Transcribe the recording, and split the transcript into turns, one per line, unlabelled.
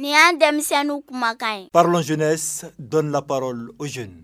Nin y'an denmisɛnninw kumakan ye. Parlons jeunesse donne la parole aux jeunes